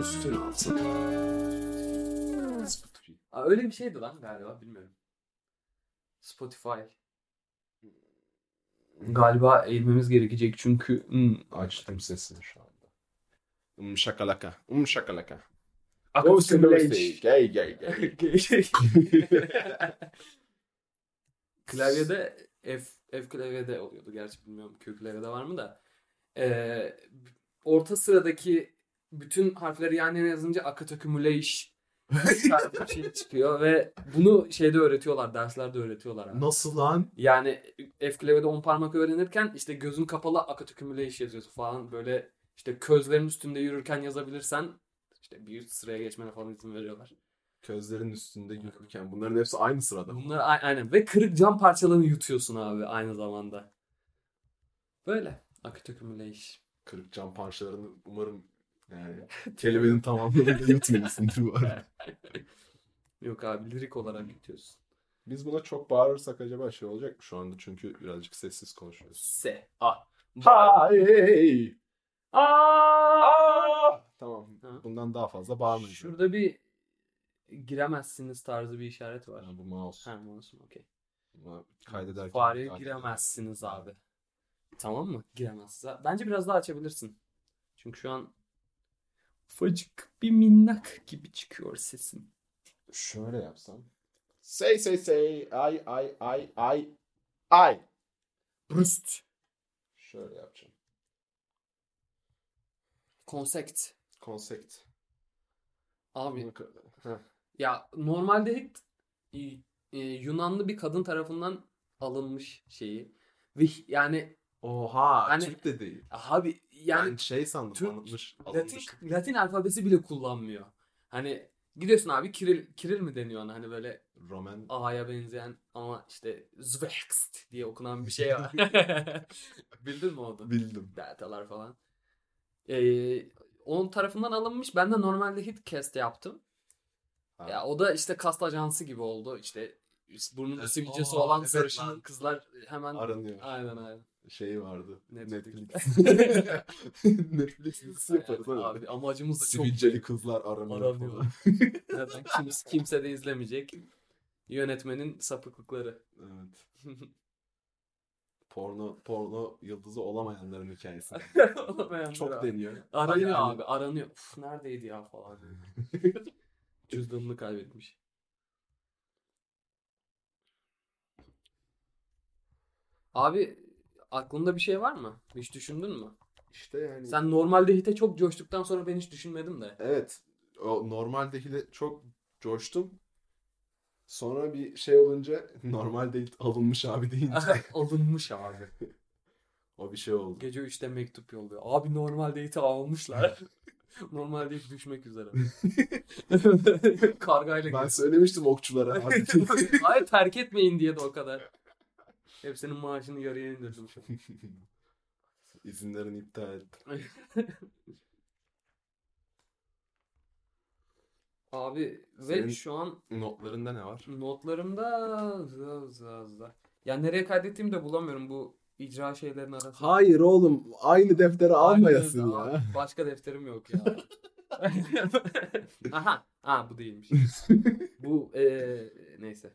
Üstün altın. Spotify. Aa, öyle bir şeydi lan galiba bilmiyorum. Spotify. Galiba eğilmemiz gerekecek çünkü hmm, Açtım sesini şu anda. Um şakalaka. Um şakalaka. akıl Ghost in the Stage. Gay gay gay. klavyede F, F klavyede oluyordu. Gerçi bilmiyorum Q klavyede var mı da. Ee, orta sıradaki bütün harfleri yan yana yazınca akatakümüleyiş tarzı bir şey çıkıyor ve bunu şeyde öğretiyorlar, derslerde öğretiyorlar. abi. Nasıl lan? Yani e, F klavyede 10 parmak öğrenirken işte gözün kapalı akatakümüleyiş yazıyorsun falan böyle işte közlerin üstünde yürürken yazabilirsen işte bir üst sıraya geçmene falan izin veriyorlar. Közlerin üstünde yürürken bunların hepsi aynı sırada. Bunlar a- aynen ve kırık cam parçalarını yutuyorsun abi aynı zamanda. Böyle akatakümüleyiş. Kırık cam parçalarını umarım yani kelimenin tamamını yutmuyorsundur bu arada. Yok abi lirik olarak yutuyorsun. Biz buna çok bağırırsak acaba şey olacak mı şu anda? Çünkü birazcık sessiz konuşuyoruz. S. A. Hey! A. Tamam. Ha. Bundan daha fazla bağırmayacağım. Şurada bir giremezsiniz tarzı bir işaret var. Yani bu mouse. Ha, olsun okey. Buna kaydederken. Fareye takip giremezsiniz edelim. abi. Tamam mı? Giremezsiniz. Bence biraz daha açabilirsin. Çünkü şu an ufacık bir minnak gibi çıkıyor sesin. Şöyle yapsam. Say say say. Ay ay ay ay. Ay. Brüst. Şöyle yapacağım. Konsept. Konsept. Abi Bunu ka- Heh. ya normalde hep e, e, Yunanlı bir kadın tarafından alınmış şeyi. Ve hi- yani Oha. Hani- Türk de değil. abi Yani, yani şey sandım. Türk- alınmış. Latin, alınmış. Latin alfabesi bile kullanmıyor. Hani gidiyorsun abi Kiril, Kiril mi deniyor ona hani böyle Roman. A'ya benzeyen ama işte Zvext diye okunan bir şey var. Bildin mi onu? Bildim. Deltalar falan. Ee, onun tarafından alınmış. Ben de normalde Hitcast yaptım. Ha. Ya o da işte kast ajansı gibi oldu. İşte burnun Evet, sivilcesi aa, olan evet sarışın lan. kızlar hemen Aranıyor. aynen aynen. Şey vardı. Netflix. Netflix. Netflix dizisi yaparız. Yani Abi. abi amacımız da çok Sivilceli kızlar aranıyor. Aranıyor. falan. Neden? Kimse, kimse de izlemeyecek. Yönetmenin sapıklıkları. Evet. Porno, porno yıldızı olamayanların hikayesi. Olamayanlar Çok abi. deniyor. Aranıyor Yani- abi aranıyor. Uf neredeydi ya falan. Cüzdanını kaybetmiş. Abi aklında bir şey var mı? Hiç düşündün mü? İşte yani. Sen normalde hite çok coştuktan sonra ben hiç düşünmedim de. Evet. O normal dehile çok coştum. Sonra bir şey olunca normal değil alınmış abi deyince Alınmış abi. o bir şey oldu. Gece 3'te mektup yolluyor. Abi normal date'i almışlar. normal date düşmek üzere. Kargayla Ben geliyor. söylemiştim okçulara abi. Hayır terk etmeyin diye de o kadar. Hepsinin maaşını yarıya indirdim şu an. İzinlerini iptal ettim. Abi ve Senin- şu an Notlarında ne var? notlarımda zı zı zı. Ya nereye kaydettiğimi de bulamıyorum bu icra şeylerin arasında. Hayır oğlum aynı deftere almayasın Aynı- ya. Aa, Başka defterim yok ya. Aha. Ha bu değilmiş. bu eee, neyse.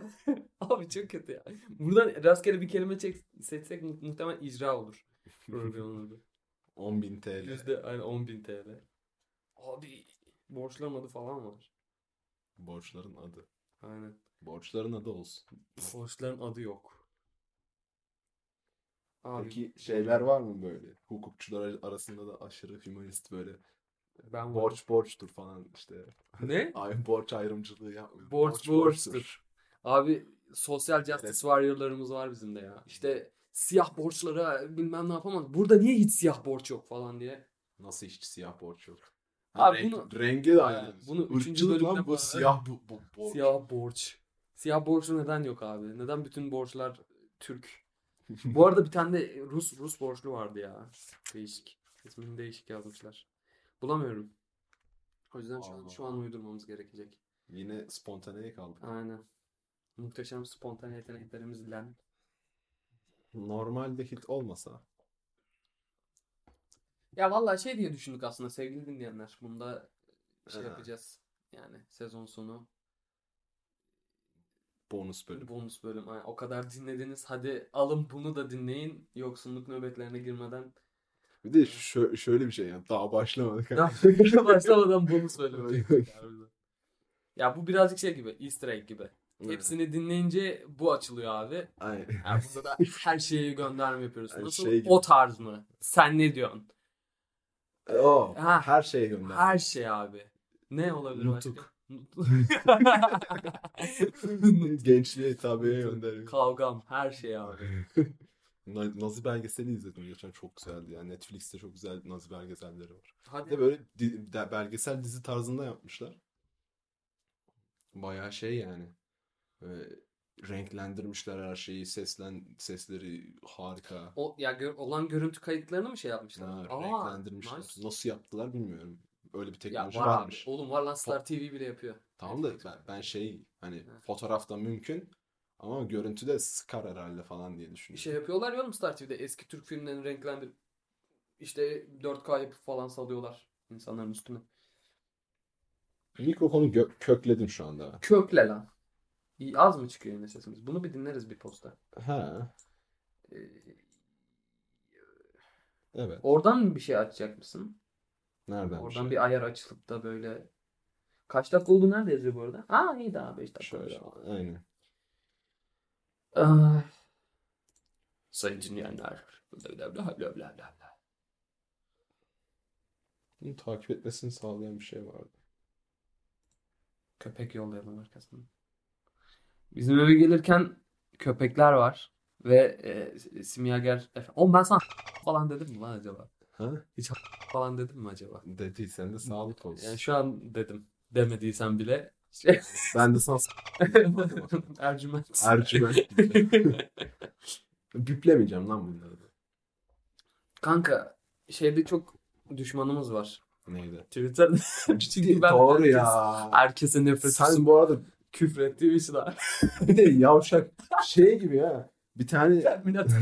Abi çok kötü ya. Buradan rastgele bir kelime çek, seçsek mu- muhtemelen icra olur. Programın adı. 10.000 TL. Yüzde aynı 10 bin TL. Abi borçlamadı falan var. Borçların adı. Aynen. Borçların adı olsun. Borçların adı yok. Abi, Peki şeyler var mı böyle? Hukukçular arasında da aşırı hümanist böyle ben varım. borç borçtur falan işte. Ne? Ay, borç ayrımcılığı yapmıyor. Borç borçtur. Abi sosyal justice Evet. warrior'larımız var bizim de ya. İşte siyah borçlara bilmem ne yapamaz. Burada niye hiç siyah borç yok falan diye. Nasıl hiç siyah borç yok? Abi renk, bunu- rengi de Ha, aynı. bunu Irkçılık üçüncü bölümde lan bu bana- siyah bu, bu borç. Siyah borç. Siyah borç neden yok abi? Neden bütün borçlar Türk? Bu arada bir tane de Rus Rus borçlu vardı ya. Değişik. İsmini değişik yazmışlar. Bulamıyorum. O yüzden şu an, Allah. şu an uydurmamız gerekecek. Yine spontaneye kaldık. Aynen. Muhteşem spontane yeteneklerimizle. Normalde hit olmasa Ya vallahi şey diye düşündük aslında sevgili dinleyenler. Bunda şey Ha. yapacağız. Yani sezon sonu Bonus bölüm. bonus bölüm. Ay, o kadar dinlediniz. Hadi alın bunu da dinleyin. Yoksunluk nöbetlerine girmeden. Bir de şö- şöyle bir şey yani daha başlamadık. Daha başlamadan bonus bölümü. çektik harbiden. ya bu birazcık şey gibi. Easter egg gibi. Hepsini dinleyince bu açılıyor abi. Aynen. Yani burada da her şeye gönderme yapıyoruz. Yani Nasıl şey gibi. o tarz mı? Sen ne diyorsun? Oo, Ha. her şeye gönder. Her şey abi. Ne olabilir Nutuk. başka? Gençliğe hitabeye gönderiyor. Kavgam her şey abi. Na- Nazi belgeseli izledim geçen çok güzeldi yani Netflix'te çok güzel Nazi belgeselleri var. Bir Hadi de böyle di- de- belgesel dizi tarzında yapmışlar. Bayağı şey yani. Böyle renklendirmişler her şeyi, seslen sesleri harika. O, ya gör- olan görüntü kayıtlarını mı şey yapmışlar? Ha, Aa, renklendirmişler. nice. Nasıl yaptılar bilmiyorum. Öyle bir Ya teknoloji var abi. varmış. Oğlum var lan Star TV bile yapıyor. Tamam da Netflix ben, var. ben şey hani Ha. fotoğrafta mümkün ama görüntüde sıkar herhalde falan diye düşünüyorum. Şey yapıyorlar ya oğlum Star TV'de eski Türk filmlerini renklendirip işte 4K yapıp falan salıyorlar insanların üstüne. Mikrofonu gö- kökledim şu anda. Kökle lan. İyi, az mı çıkıyor yine sesimiz? Bunu bir dinleriz bir posta. Ha, Ee, evet. oradan bir şey açacak mısın? Nereden bir Oradan şey? bir ayar açılıp da böyle kaç dakika oldu nerede yazıyor bu arada? Aa iyi daha 5 dakika. Şöyle olmuş. aynen. Ah. Sayın dinleyenler. Bla bla bla bla bla bla. bla. Bunu takip etmesini sağlayan bir şey vardı. Köpek yollayalım arkasına. Bizim eve gelirken köpekler var. Ve e, simyager... Efe- Oğlum ben sana falan dedim mi lan acaba? Ha? Falan dedim mi acaba? Dediysen de sağlık olsun. Yani şu an dedim. Demediysen bile. Ben de sana Ercüment. Ercüment. Biplemeyeceğim lan bunları. da. Kanka şeyde çok düşmanımız var. Neydi? Twitter'da Çünkü ben Doğru herkes- ya. herkese nefret Sen bu arada küfür ettiğim için abi. bir de yavşak şey gibi ya. Bir tane Terminator.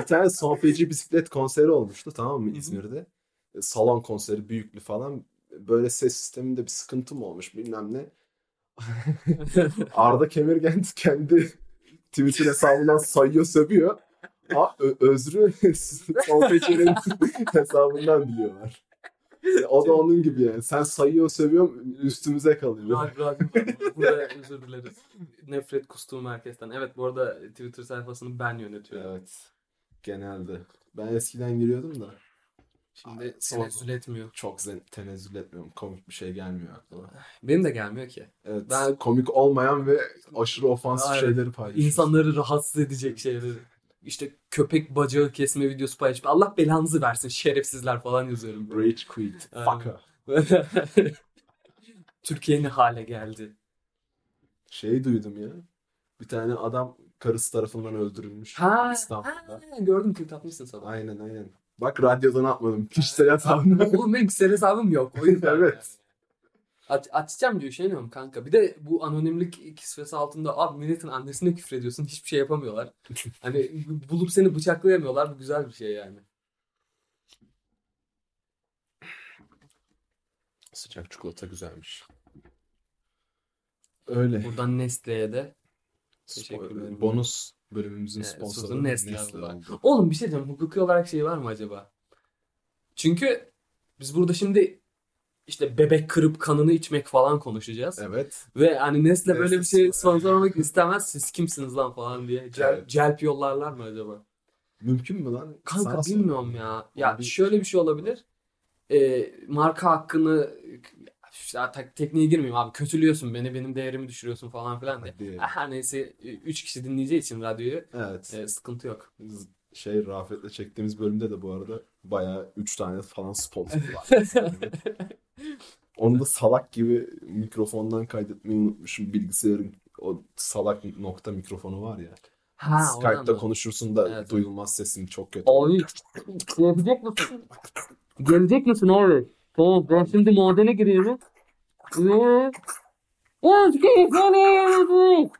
bir tane son feci bisiklet konseri olmuştu tamam Hı mı hı. İzmir'de. E, Salon konseri büyüklü falan. Böyle ses sisteminde bir sıkıntı mı olmuş bilmem ne. Arda Kemirgen kendi Twitter hesabından sayıyor sövüyor. Ha, ö- özrü son fecilerin hesabından biliyorlar. E, O da onun gibi yani. Sen sayıyor sövüyor üstümüze kalıyor. Rag rag rag. Burada özür dileriz. Nefret kustuğum herkesten. Evet bu arada Twitter sayfasını ben yönetiyorum. Evet. Genelde. Ben eskiden giriyordum da. Şimdi Son- tenezzül etmiyor. çok zen- tenezzül etmiyorum. Komik bir şey gelmiyor aklıma. Benim de gelmiyor ki. Evet. Ben- komik olmayan ve aşırı ofansif Aynen. şeyleri paylaşıyorsun. İnsanları rahatsız edecek şeyleri. İşte köpek bacağı kesme videosu paylaşıp Allah belanızı versin şerefsizler falan yazıyorum. böyle. Rage quit. Aynen. Fucker. Türkiye ne hale geldi? Şey duydum ya. Bir tane adam karısı tarafından öldürülmüş Ha, ha İstanbul'da. gördüm tweet atmışsın sabah. Aynen aynen. Bak radyodan atmadım. Kişisel hesabını. Oğlum benim kişisel hesabım yok. O yüzden Evet. yani. Aç, açacağım diyor şey diyorum kanka. Bir de bu anonimlik kisvesi altında abi milletin annesine küfür ediyorsun. Hiçbir şey yapamıyorlar. hani bulup seni bıçaklayamıyorlar. Bu güzel bir şey yani. Sıcak çikolata güzelmiş. Öyle. Buradan Nestle'ye de. Teşekkür ederim. Spo- bonus bölümümüzün Evet, sponsoru sponsoru Nestle Nestle oldu. oldu. Oğlum bir şey diyeceğim. Hukuki olarak şey var mı acaba? Çünkü biz burada şimdi işte bebek kırıp kanını içmek falan konuşacağız. Evet. Ve hani Nestle Neyse, böyle bir şey sonra. sponsor olmak istemez. Siz kimsiniz lan falan diye. Cel, Evet. Celp yollarlar mı acaba? Mümkün mü lan? Kanka Sana sor. bilmiyorum ya. Ya Olabilir. şöyle bir şey olabilir. Ee, marka hakkını ya tek- tekniğe girmeyeyim abi. Kötülüyorsun beni, benim değerimi düşürüyorsun falan filan diye. Hadi. Her neyse 3 kişi dinleyeceği için radyoyu Evet. e, sıkıntı yok. Biz şey Rafet'le çektiğimiz bölümde de bu arada bayağı 3 tane falan sponsor var. Onu da salak gibi mikrofondan kaydetmeyi unutmuşum. Bilgisayarın o salak nokta mikrofonu var ya. Ha, oradan Skype'da da. konuşursun da Evet. duyulmaz sesin çok kötü. Abi gelecek misin? Gelecek misin abi? Tamam ben şimdi madene giriyorum. Ve-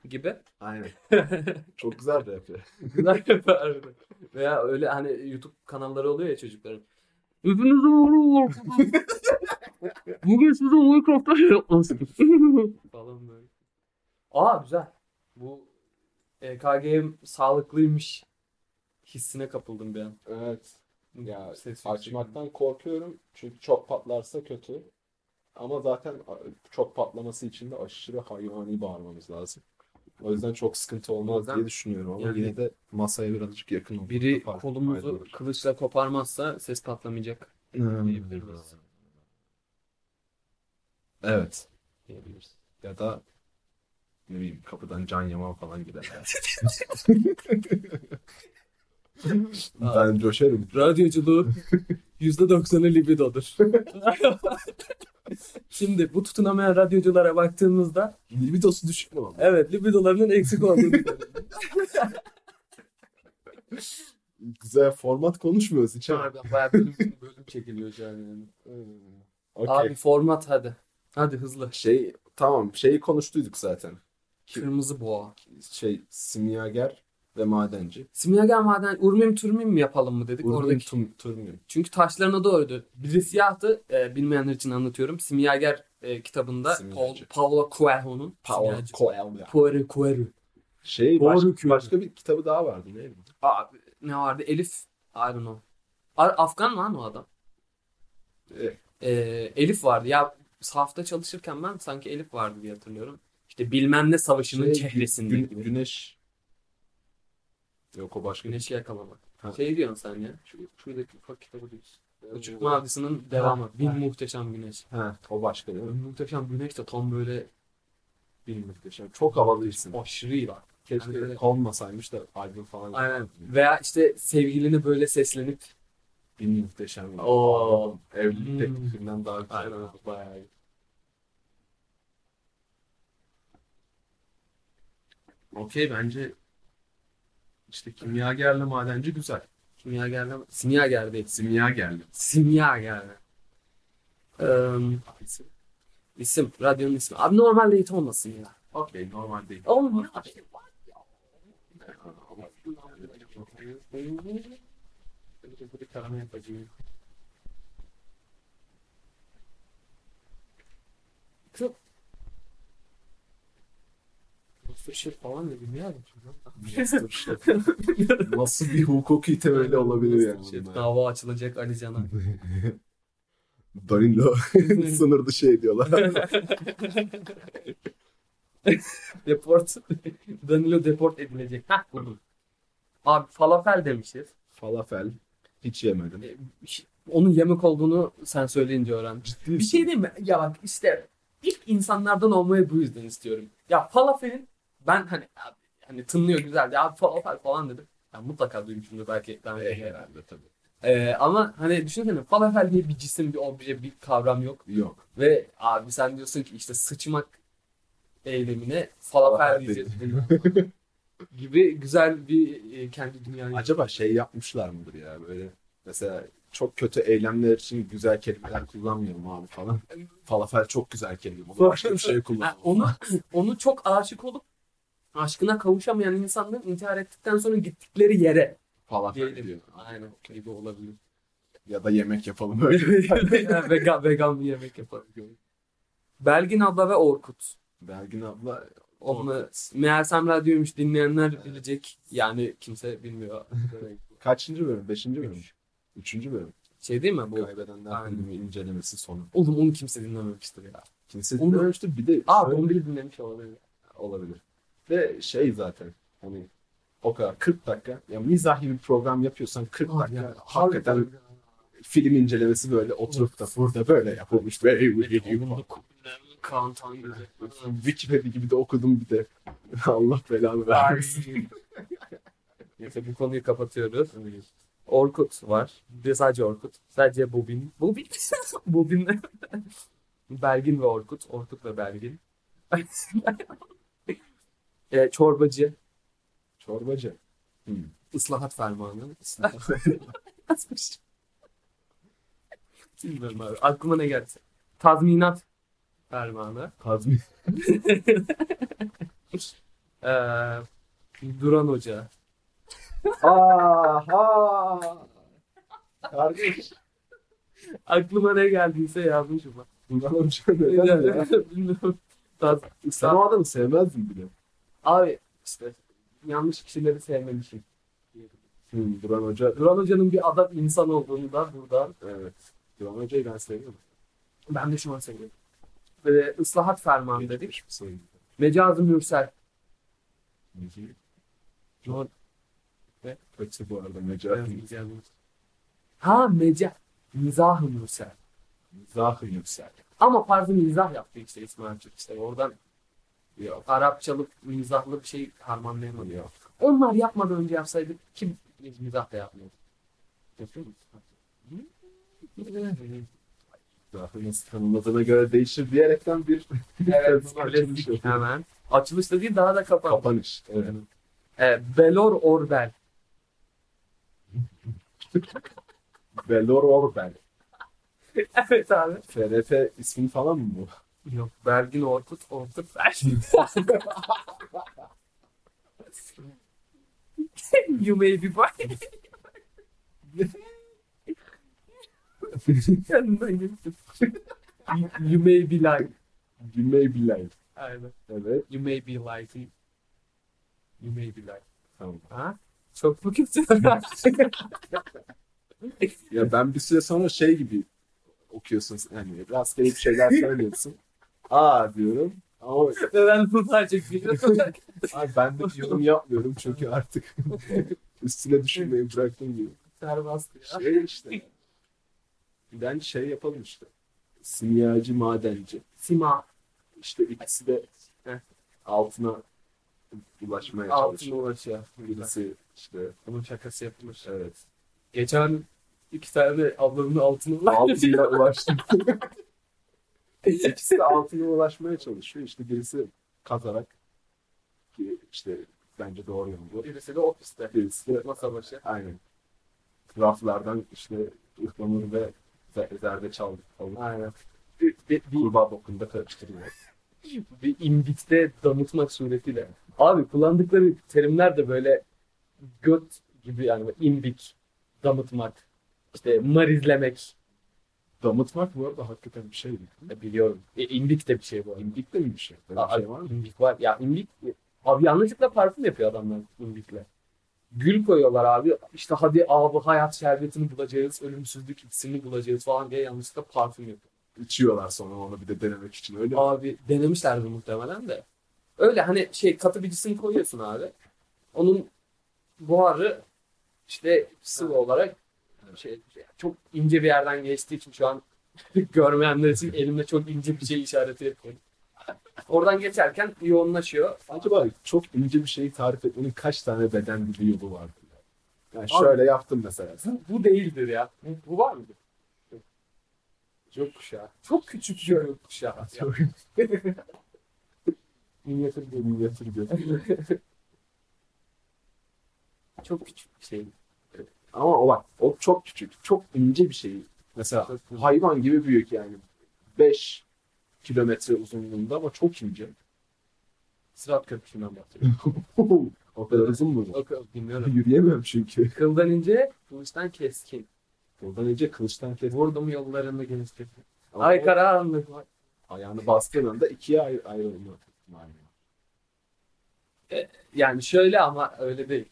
gibi. Aynen. çok güzel rap. Güzel yapar. Veya öyle hani YouTube kanalları oluyor ya çocukların. Hepinize merhaba arkadaşlar. Bugün size Minecraft'ta şey yapmaz. Falan böyle. Aa güzel. Bu E EKG'm sağlıklıymış hissine kapıldım bir an. Evet. Ya, Ses yüksek. Açmaktan korkuyorum. Çünkü çok patlarsa kötü. Ama zaten a- çok patlaması için de aşırı hayvani bağırmamız lazım. O yüzden çok sıkıntı O olmaz yüzden- diye düşünüyorum ama Yani- yine de masaya birazcık yakın olmak Biri farklı kolumuzu faydalı. kılıçla koparmazsa ses patlamayacak Hmm. diyebiliriz. Evet. Diyebiliriz. Ya da ne bileyim kapıdan can yaman falan gider. ben coşarım. Radyoculuğu %90'ı libidodur. Şimdi bu tutunamayan radyoculara baktığımızda Libidosu düşük mü lan? evet libidolarının eksik olduğunu Güzel format konuşmuyoruz hiç. ha? Harbiden bayağı bölüm, bölüm çekiliyor şu an yani. Hmm. Okey. Abi format hadi. Hadi hızlı. Şey tamam şeyi konuştuyduk zaten. Kırmızı boğa. Şey simyager ve madenci. Simyager maden urmim turmim mi yapalım mı dedik Urmin oradaki. Tum- Turmin. Çünkü taşlarına doğruydu. Biri siyahtı. e, bilmeyenler için anlatıyorum. Simyager e, kitabında Simyacı. Paul, Paulo Coelho'nun Power Simyacı. Coil ya. Coelho Coelho. Şey Doğru baş- hüküm. başka bir kitabı daha vardı neydi? Aa, ne vardı? Elif. I don't know. A- Afgan lan o adam. Evet. Ee, Elif vardı. Ya safta çalışırken ben sanki Elif vardı diye hatırlıyorum. İşte bilmem ne savaşının Şey, çehresinde Gü- gibi. güneş. Yok o başka. Güneşi yakalamak. Ha. Şey diyorsun sen ya. Şu, şuradaki ufak kitabı diyorsun. Uçuk Ha, Mavisi'nin devamı. Bir Ha. muhteşem güneş. Ha, o başka değil mi? Muhteşem güneş de tam böyle Bir muhteşem. Çok havalı isim. aşırı iyi bak. Keşke Yani böyle- olmasaymış da albüm falan. Aynen. Veya işte sevgiline böyle seslenip Bir muhteşem. Oo. Evlilik Hmm. teklifinden daha güzel. Aynen. Bayağı iyi. Okey bence işte kimyagerle madenci güzel. Simyager'le Simyager değil. Simyagerle. Simyager. Eee İsim, radyonun ismi. Abi normal late olmasın ya. Okey normal değil. Olmuyor. Şey falan dedim ya. Nasıl, Nasıl bir hukuki temeli olabilir yani? Şey, bunlar? dava açılacak Ali Can'a. Danilo şey sınır dışı ediyorlar. Deport. Danilo deport edilecek. Hah buldum. Abi falafel demişiz. Falafel hiç yemedim. E, ş- Onun yemek olduğunu sen söyleyince öğrendim. Bir şey değil mi? Ya bak işte ilk insanlardan olmayı bu yüzden istiyorum. Ya falafelin ben hani abi, hani tınlıyor güzel. Ya abi falafel falan dedim. Ya mutlaka duymuşumdur belki. Ben Eh, herhalde tabii. Ee, ama hani düşünsene falafel diye bir cisim, bir obje, bir kavram yok. Yok. Ve abi sen diyorsun ki işte sıçmak eylemine falafel Falafel diyeceğiz. gibi güzel bir e, kendi dünyayı. Acaba şey yapmışlar mıdır ya böyle mesela çok kötü eylemler için güzel kelimeler kullanmıyorum abi falan. Falafel çok güzel kelime. Onu başka bir şey Ha, kullanalım. onu onu çok aşık olup aşkına kavuşamayan insanların intihar ettikten sonra gittikleri yere Falafel diyelim. diyor. Aynen gibi olabilir. Ya da yemek yapalım öyle. Yani vegan, vegan bir yemek yapalım. Belgin abla ve Orkut. Belgin abla Onu Meğersem Radyo'ymuş dinleyenler bilecek. Yani kimse bilmiyor. kaçıncı bölüm? Beşinci bölüm. Üçüncü bölüm. Şey değil mi bu? Kaybedenler Aynen. filmi incelemesi sonu. Oğlum onu kimse dinlememiştir ya. Kimse Onu- dinlememiştir. Bir de Abi şöyle onu bile dinlemiş olabilir. olabilir. Ve şey zaten hani o kadar 40 dakika. Ya mizahi bir program yapıyorsan 40 Abi dakika ya, hakikaten harbiden- film incelemesi böyle oturup da burada böyle yapılmış. Ve Oğlum, Kaan Tangöze. Wikipedia gibi de okudum bir de. Allah belanı vermesin. Neyse bu konuyu kapatıyoruz. Orkut var. Bir de sadece Orkut. Sadece Bobin. Bobin. Bobin. Belgin ve Orkut. Orkut ve Belgin. e, çorbacı. Çorbacı. Islahat fermanı. Yazmış. Bilmiyorum abi. Aklıma ne geldi? Tazminat fermanı. Tazmin. Ee, Duran Hoca. Aha! Kardeş. Aklıma ne geldiyse yazmışım. bak. Bilmem şey neden ya. Bilmiyorum. Daha- Sen o adamı sevmezdin bile. Abi işte yanlış kişileri sevmemişim. Hmm, Duran Hoca. Duran Hoca'nın bir adam insan olduğunu da buradan Evet. Duran Hoca'yı ben seviyorum. ben de şu an seviyorum. Ve ıslahat fermanı dedik. Geçmiş bir sayı. Mecaz-ı Mürsel. Peki. Doğru. Ve kaçtı bu arada Necati. Ha meca. Mizah-ı Mürsel. Mizahı yüksel. Ama tarzı mizah yaptı işte İsmail Türk. İşte oradan Yok. Arapçalı mizahlı bir şey harmanlayamadı. Yok. Onlar yapmadan önce yapsaydık kim biz mizah da yapmıyordu. Yapıyor musun? Mizahı nasıl tanımladığına göre değişir diyerekten bir Evet, Açılış klasik yapıyor. hemen. Açılış da değil daha da kapan. kapanış. Evet. E, Belor Orbel. Belor Orbel. evet abi. FRF ismi falan mı bu? Yok Bergin Orkut Orkut Ber. you may be right. Yanından geçtim. you, you may be like. You may be live. Aynen. Evet. You may be like. You may be like. Tamam. Ha? Çok mu kötü? Ya ben bir süre sonra şey gibi okuyorsun. Yani rastgele bir şeyler söylüyorsun. Aa diyorum. Ama Ve ben bu sadece gülüyorum. abi ben de yorum yapmıyorum çünkü artık üstüne düşünmeyi bıraktım gibi. Serbest ya. Şey işte. Ben şey yapalım işte. Simyacı, madenci. Sima İşte ikisi de Heh. altına ulaşmaya altına çalışıyor. ulaşıyor. Birisi işte Bunun şakası yapılmış. evet. Geçen iki tane ablamın altına ulaştı. Altıyla ulaştım. İkisi de altına ulaşmaya çalışıyor. İşte birisi kazarak ki işte bence doğru yol bu. Birisi de ofiste. Birisi de Masa başı. aynen raflardan işte ıhlamur ve zer- zerdeçal alıp Aynen. Bir, bir, bir, kurbağa bokunda karıştırıyor. bir imbikte damıtmak suretiyle. Abi kullandıkları terimler de böyle göt gibi yani böyle imbik, damıtmak, işte marizlemek Damıtmak bu arada hakikaten bir şey değil. E, biliyorum. E, imbik de bir şey bu arada. İmbik de mi bir şey? Böyle bir Aa, şey var mı? İmbik var. Ya imbik abi yanlışlıkla parfüm yapıyor adamlar imbikle. Gül koyuyorlar abi. İşte hadi abi hayat şerbetini bulacağız, ölümsüzlük ikisini bulacağız falan diye yanlışlıkla parfüm yapıyor. İçiyorlar sonra onu bir de denemek için öyle. mi? Abi denemişlerdi muhtemelen de. Öyle hani şey katı bir cisim koyuyorsun abi. Onun buharı işte sıvı olarak şey çok ince bir yerden geçtiği için şu an görmeyenler için elimde çok ince bir şey işareti yapıyorum. Oradan geçerken yoğunlaşıyor. Acaba çok ince bir şeyi tarif etmenin kaç tane beden dili yolu vardır? Yani Abi- şöyle yaptım mesela. Bu, bu değildir ya. Bu, bu var mıdır? Yok kuşağı. Çok küçük bir yok kuşağı. Ya. Minyatür bir minyatür bir. Çok küçük bir şey. Ama o bak o çok küçük. Çok ince bir şey. Mesela Çok küçük. hayvan gibi büyük yani. 5 kilometre uzunluğunda ama çok ince. Sırat köprüsünden bahsediyorum. o kadar uzun mu? bu? Yok yok bilmiyorum. Yürüyemem çünkü. Kıldan ince, kılıçtan keskin. Yoldan önce kılıçtan kes. Vurdum yollarını genişletti. Ama Ay o karanlık. Ayağını bastığın anda ikiye ayr ayrılma ihtimali var. Yani şöyle ama öyle değil.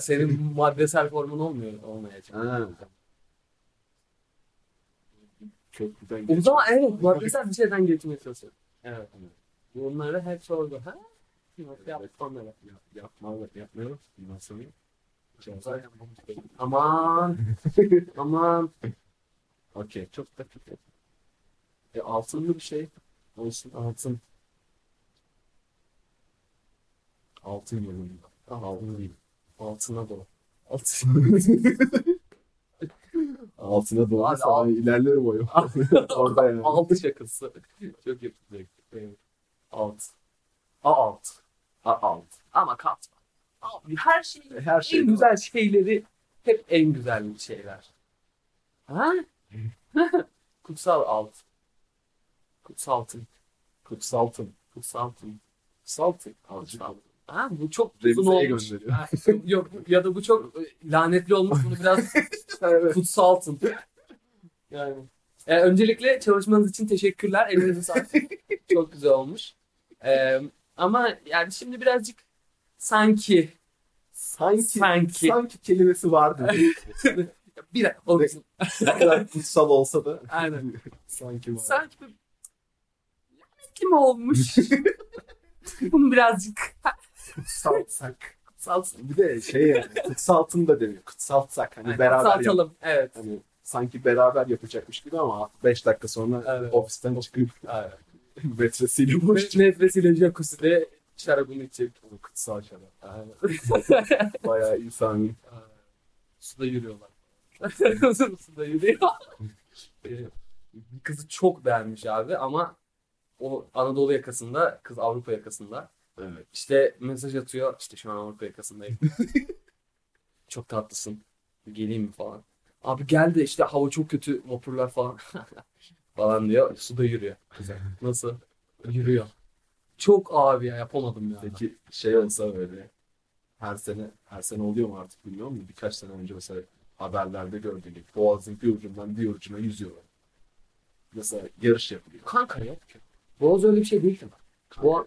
senin maddesel formun olmuyor olmayacak. Ha. Köprüden O geç- zaman evet maddesel bir şeyden geçmeye çalışıyorum. Evet. Bunları hep sordu. Ha? Yok yap onları. Yap- Yapma, yapmıyorum. Bundan sonra yapacağız. Zaten bu- Aman. Aman. Okey. Çok da kötü. E, altınlı bir şey olsun. Altın. Altın yolunda. Altın değil. Altına dolu. Altına doğru Abi, sana al- ilerlerim o yol. Orada yani. Altı şakası. Çok yapacak. Alt. A alt. A- alt. Ama kat. Abi her şey. Her şey en de güzel şeyleri hep en güzel şeyler. Ha? Kutsal alt. Kutsaltın. Kutsaltın. Kutsaltın. Kutsaltın. Azıcık. Kutsaltın. Ha bu çok uzun Revize'ye olmuş. gönderiyor. Ha, yok ya da bu çok e, lanetli olmuş. Bunu biraz Evet. kutsaltın. Yani. Ee, öncelikle çalışmanız için teşekkürler. Elinize sağlık. Çok güzel olmuş. Ee, ama yani şimdi birazcık sanki Sanki, sanki. Sanki. kelimesi vardı. bir dakika oğlum, Ne- ne kadar kutsal olsa da Aynen. sanki vardı. Sanki bir kim olmuş? Bunu birazcık Kutsalsak. salsın. Bir de şey yani kutsaltın da deniyor. Kutsaltsak hani beraber yap- Saltalım. Evet. Hani sanki beraber yapacakmış gibi ama 5 dakika sonra Evet. ofisten çıkıp Aynen. metresiyle boş Ve Nefresiyle jacuzzi'de şarabını içecek. Bu Kutsal şarap. Bayağı insani. Aa, Suda yürüyorlar. Suda yürüyor. Ee, bir kızı çok beğenmiş abi ama o Anadolu yakasında, kız Avrupa yakasında. Evet. İşte mesaj atıyor. İşte şu an Avrupa yakasındayım. çok tatlısın. Geleyim mi falan. Abi gel de işte hava çok kötü vapurlar falan. falan diyor. Suda yürüyor. Güzel. Nasıl? Yürüyor. Çok abi ya yapamadım ya. Peki şey olsa böyle her sene her sene oluyor mu artık bilmiyorum da birkaç sene önce mesela haberlerde gördük. Boğaz'ın bir ucundan bir ucuna yüzüyorlar. Mesela yarış yapılıyor. Kanka yok ki. Boğaz öyle bir şey değil ki. bak. Boğaz,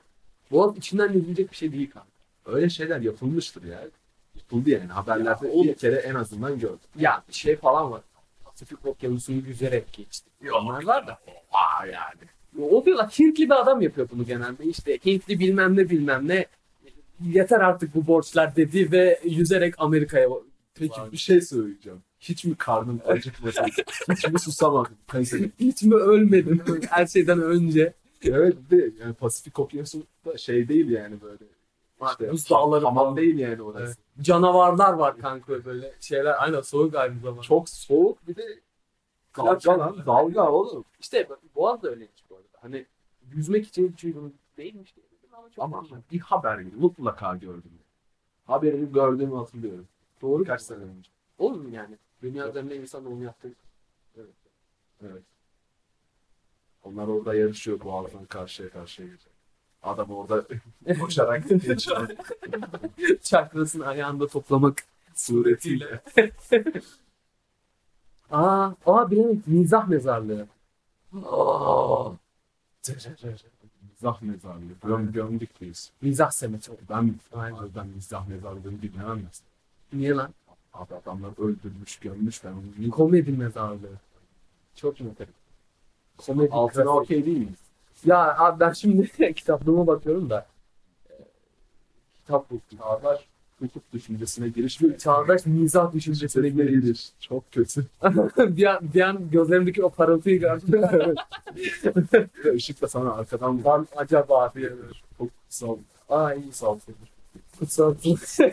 Boğaz içinden yüzülecek bir şey değil kanka. Öyle şeyler yapılmıştır ya. Yapıldı yani haberlerde Ya, bir oğlum. kere en azından gördüm. Ya şey falan var. Pasifik Okyanusu'nu yüzerek geçti. Onlar var da. Aa yani. O diyorlar Hintli bir adam yapıyor bunu genelde. İşte Hintli bilmem ne bilmem ne. Yeter artık bu borçlar dedi ve yüzerek Amerika'ya Peki Var. bir şey söyleyeceğim. Hiç mi karnım acıkmadı? Hiç mi susamadım? Kayısı. hiç mi ölmedin her şeyden önce? Evet bir de yani Pasifik Okyanusu da şey değil yani böyle. İşte Buz dağları hamam falan. değil yani orası. Evet. Canavarlar var kanka böyle şeyler. Aynen soğuk aynı zamanda. Çok soğuk bir de dalga Klap- lan dalga oğlum. İşte Boğaz da öyleymiş bu arada. Hani yüzmek için hiç uygun değilmiş. diye dedim Ama çok Ama güzel. bir haber mutlaka gördüm. Haberini gördüğümü hatırlıyorum. doğru Birkaç mu? sene önce. Olur mu yani? Dünya üzerinde insan onu yaptı. Evet. Onlar orada yarışıyor boğazdan karşıya karşıya gidiyor. Adam orada koşarak geçiyor Çakrasını ayağında toplamak. suretiyle. Aa, aa bilemedim. Mizah mezarlığı. Aa, Mizah mezarlığı. Göm, gömdük biz. mizah semeti. Ben, Aynen. ben mizah mezarlığını bilmem ya. Niye lan? Abi adamlar öldürmüş, gömmüş ben onu niye- Komedi mezarlığı. Çok mu Komedi Altına klasik. okey değil miyiz? Ya abi ben şimdi kitaplığıma bakıyorum da. Kitap bu. Çağdaş hukuk düşüncesine giriş ve Çağdaş mizah düşüncesine Kesinlikle girelim. iyidir. Çok kötü. bir, an, bir an gözlerimdeki o parıltıyı gördüm. Bir de ışık da sana arkadan var. lan acaba diye. Çok kutsal, Ay kutsal sayılır. kutsal. Kutsal.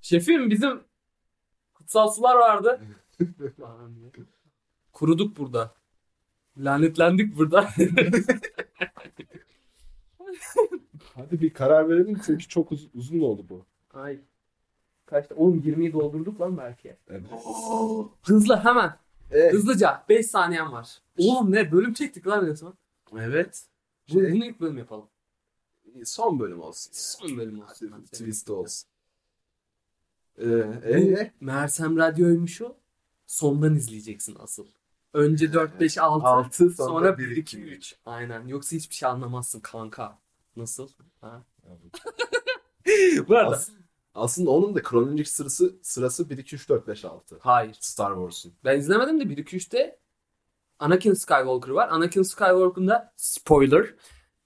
Şefim bizim kutsal sular vardı. Kuruduk burada. Lanetlendik burada. Hadi bir karar verelim çünkü çok uz- uzun oldu bu. Ay. Kaçta? Oğlum 20'yi doldurduk lan belki. Evet. Hızlı hemen. Evet. Hızlıca. 5 saniyen var. Oğlum ne? Bölüm çektik lan resmen. evet. Bu- Şey- Bunu ilk bölüm yapalım. Son bölüm olsun. Son bölüm olsun. Son Ben twist seviyorum. olsun. Ee, ee? Mersem Radyo'ymuş o. Sondan izleyeceksin asıl. Önce 4, 5, 6. Altı, sonra, sonra 1, bir, 2, iki, 3. Aynen. Yoksa hiçbir şey anlamazsın kanka. Nasıl? Ha? Bu arada. As- aslında onun da kronolojik sırası sırası 1 2 3 4 5 6. Hayır. Star Wars'un. Ben izlemedim de 1, 2, 3'te Anakin Skywalker var. Anakin Skywalker'ın da spoiler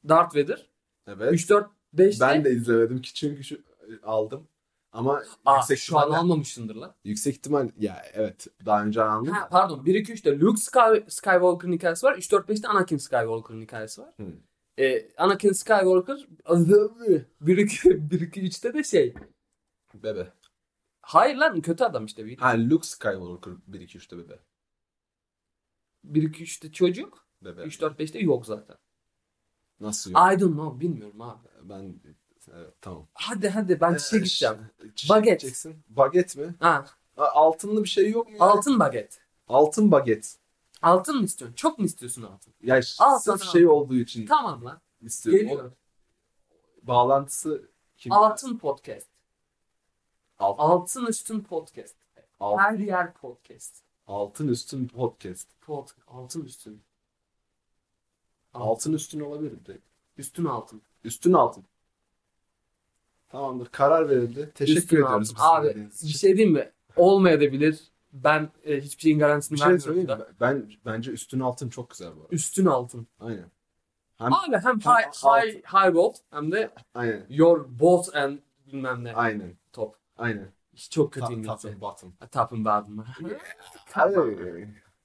Darth Vader. Evet. 3, 4, 5'te. Ben de izlemedim ki çünkü şu e, aldım. Ama Aa, yüksek şu an ihtimalle- almamışsındır lan. Yüksek ihtimal ya evet daha önce anladım. Ha, pardon 1 2 3'te Luke Sky- Skywalker'ın hikayesi var. 3 4 5'te Anakin Skywalker'ın hikayesi var. Hı. Ee, Anakin Skywalker 1 2 1 2 3'te de şey. Bebe. Hayır lan kötü adam işte. 1 Ha Luke Skywalker 1 2 3'te bebe. 2 3'te çocuk. Bebe. 3 4 5'te yok zaten. Nasıl yok? I don't know bilmiyorum abi. Ben evet, tamam. Hadi hadi ben Ee, çiçeğe gideceğim. ş- çiçeğe Baget. gideceksin. Baget mi? Ha, A- Altınlı bir şey yok mu? ya? altın baget. Altın baget. Altın mı istiyorsun? Çok mu istiyorsun altın? Ya Al sırf sana. şey olduğu için Tamam lan. istiyorum. Geliyor. O bağlantısı kim? Altın podcast. Alt- Altın Üstün Podcast. alt- Her yer podcast. altın üstün podcast. Pod, altın Üstün. Altın üstün olabilir direkt. Üstün altın. Üstün altın. Tamamdır. Karar verildi. Teşekkür Üstün ediyoruz. bizi altın. Abi dinlediğiniz bir için. şey diyeyim mi? Olmayabilir. Ben e, hiçbir şeyin garantisini bir şey vermiyorum söyleyeyim da. mi? Ben bence üstün altın çok güzel bu arada. Üstün altın. Aynen. Hem- Abi hem hem high, altın. high, high gold hem de Aynen. your boat and bilmem ne Aynen. top. Aynen. Çok kötü Ta- İngilizce. Tatlı bottom. Tapın badımı. Ay.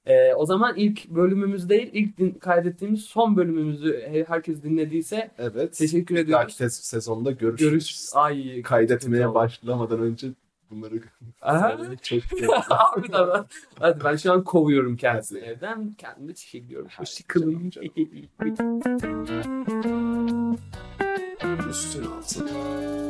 Ee, o zaman ilk bölümümüz değil, ilk din- kaydettiğimiz son bölümümüzü he- herkes dinlediyse Evet. teşekkür Bir dahaki ediyoruz. se- sezonda görüşürüz. Görüşürüz. Ay. Kaydetmeye başlamadan önce bunları Aha. söylemek çok Abi de ben- Hadi ben şu an kovuyorum kendisini Hadi. evden. Kendimi çiçekliyorum. Hadi Hoşçakalın. canım, Üstün altın.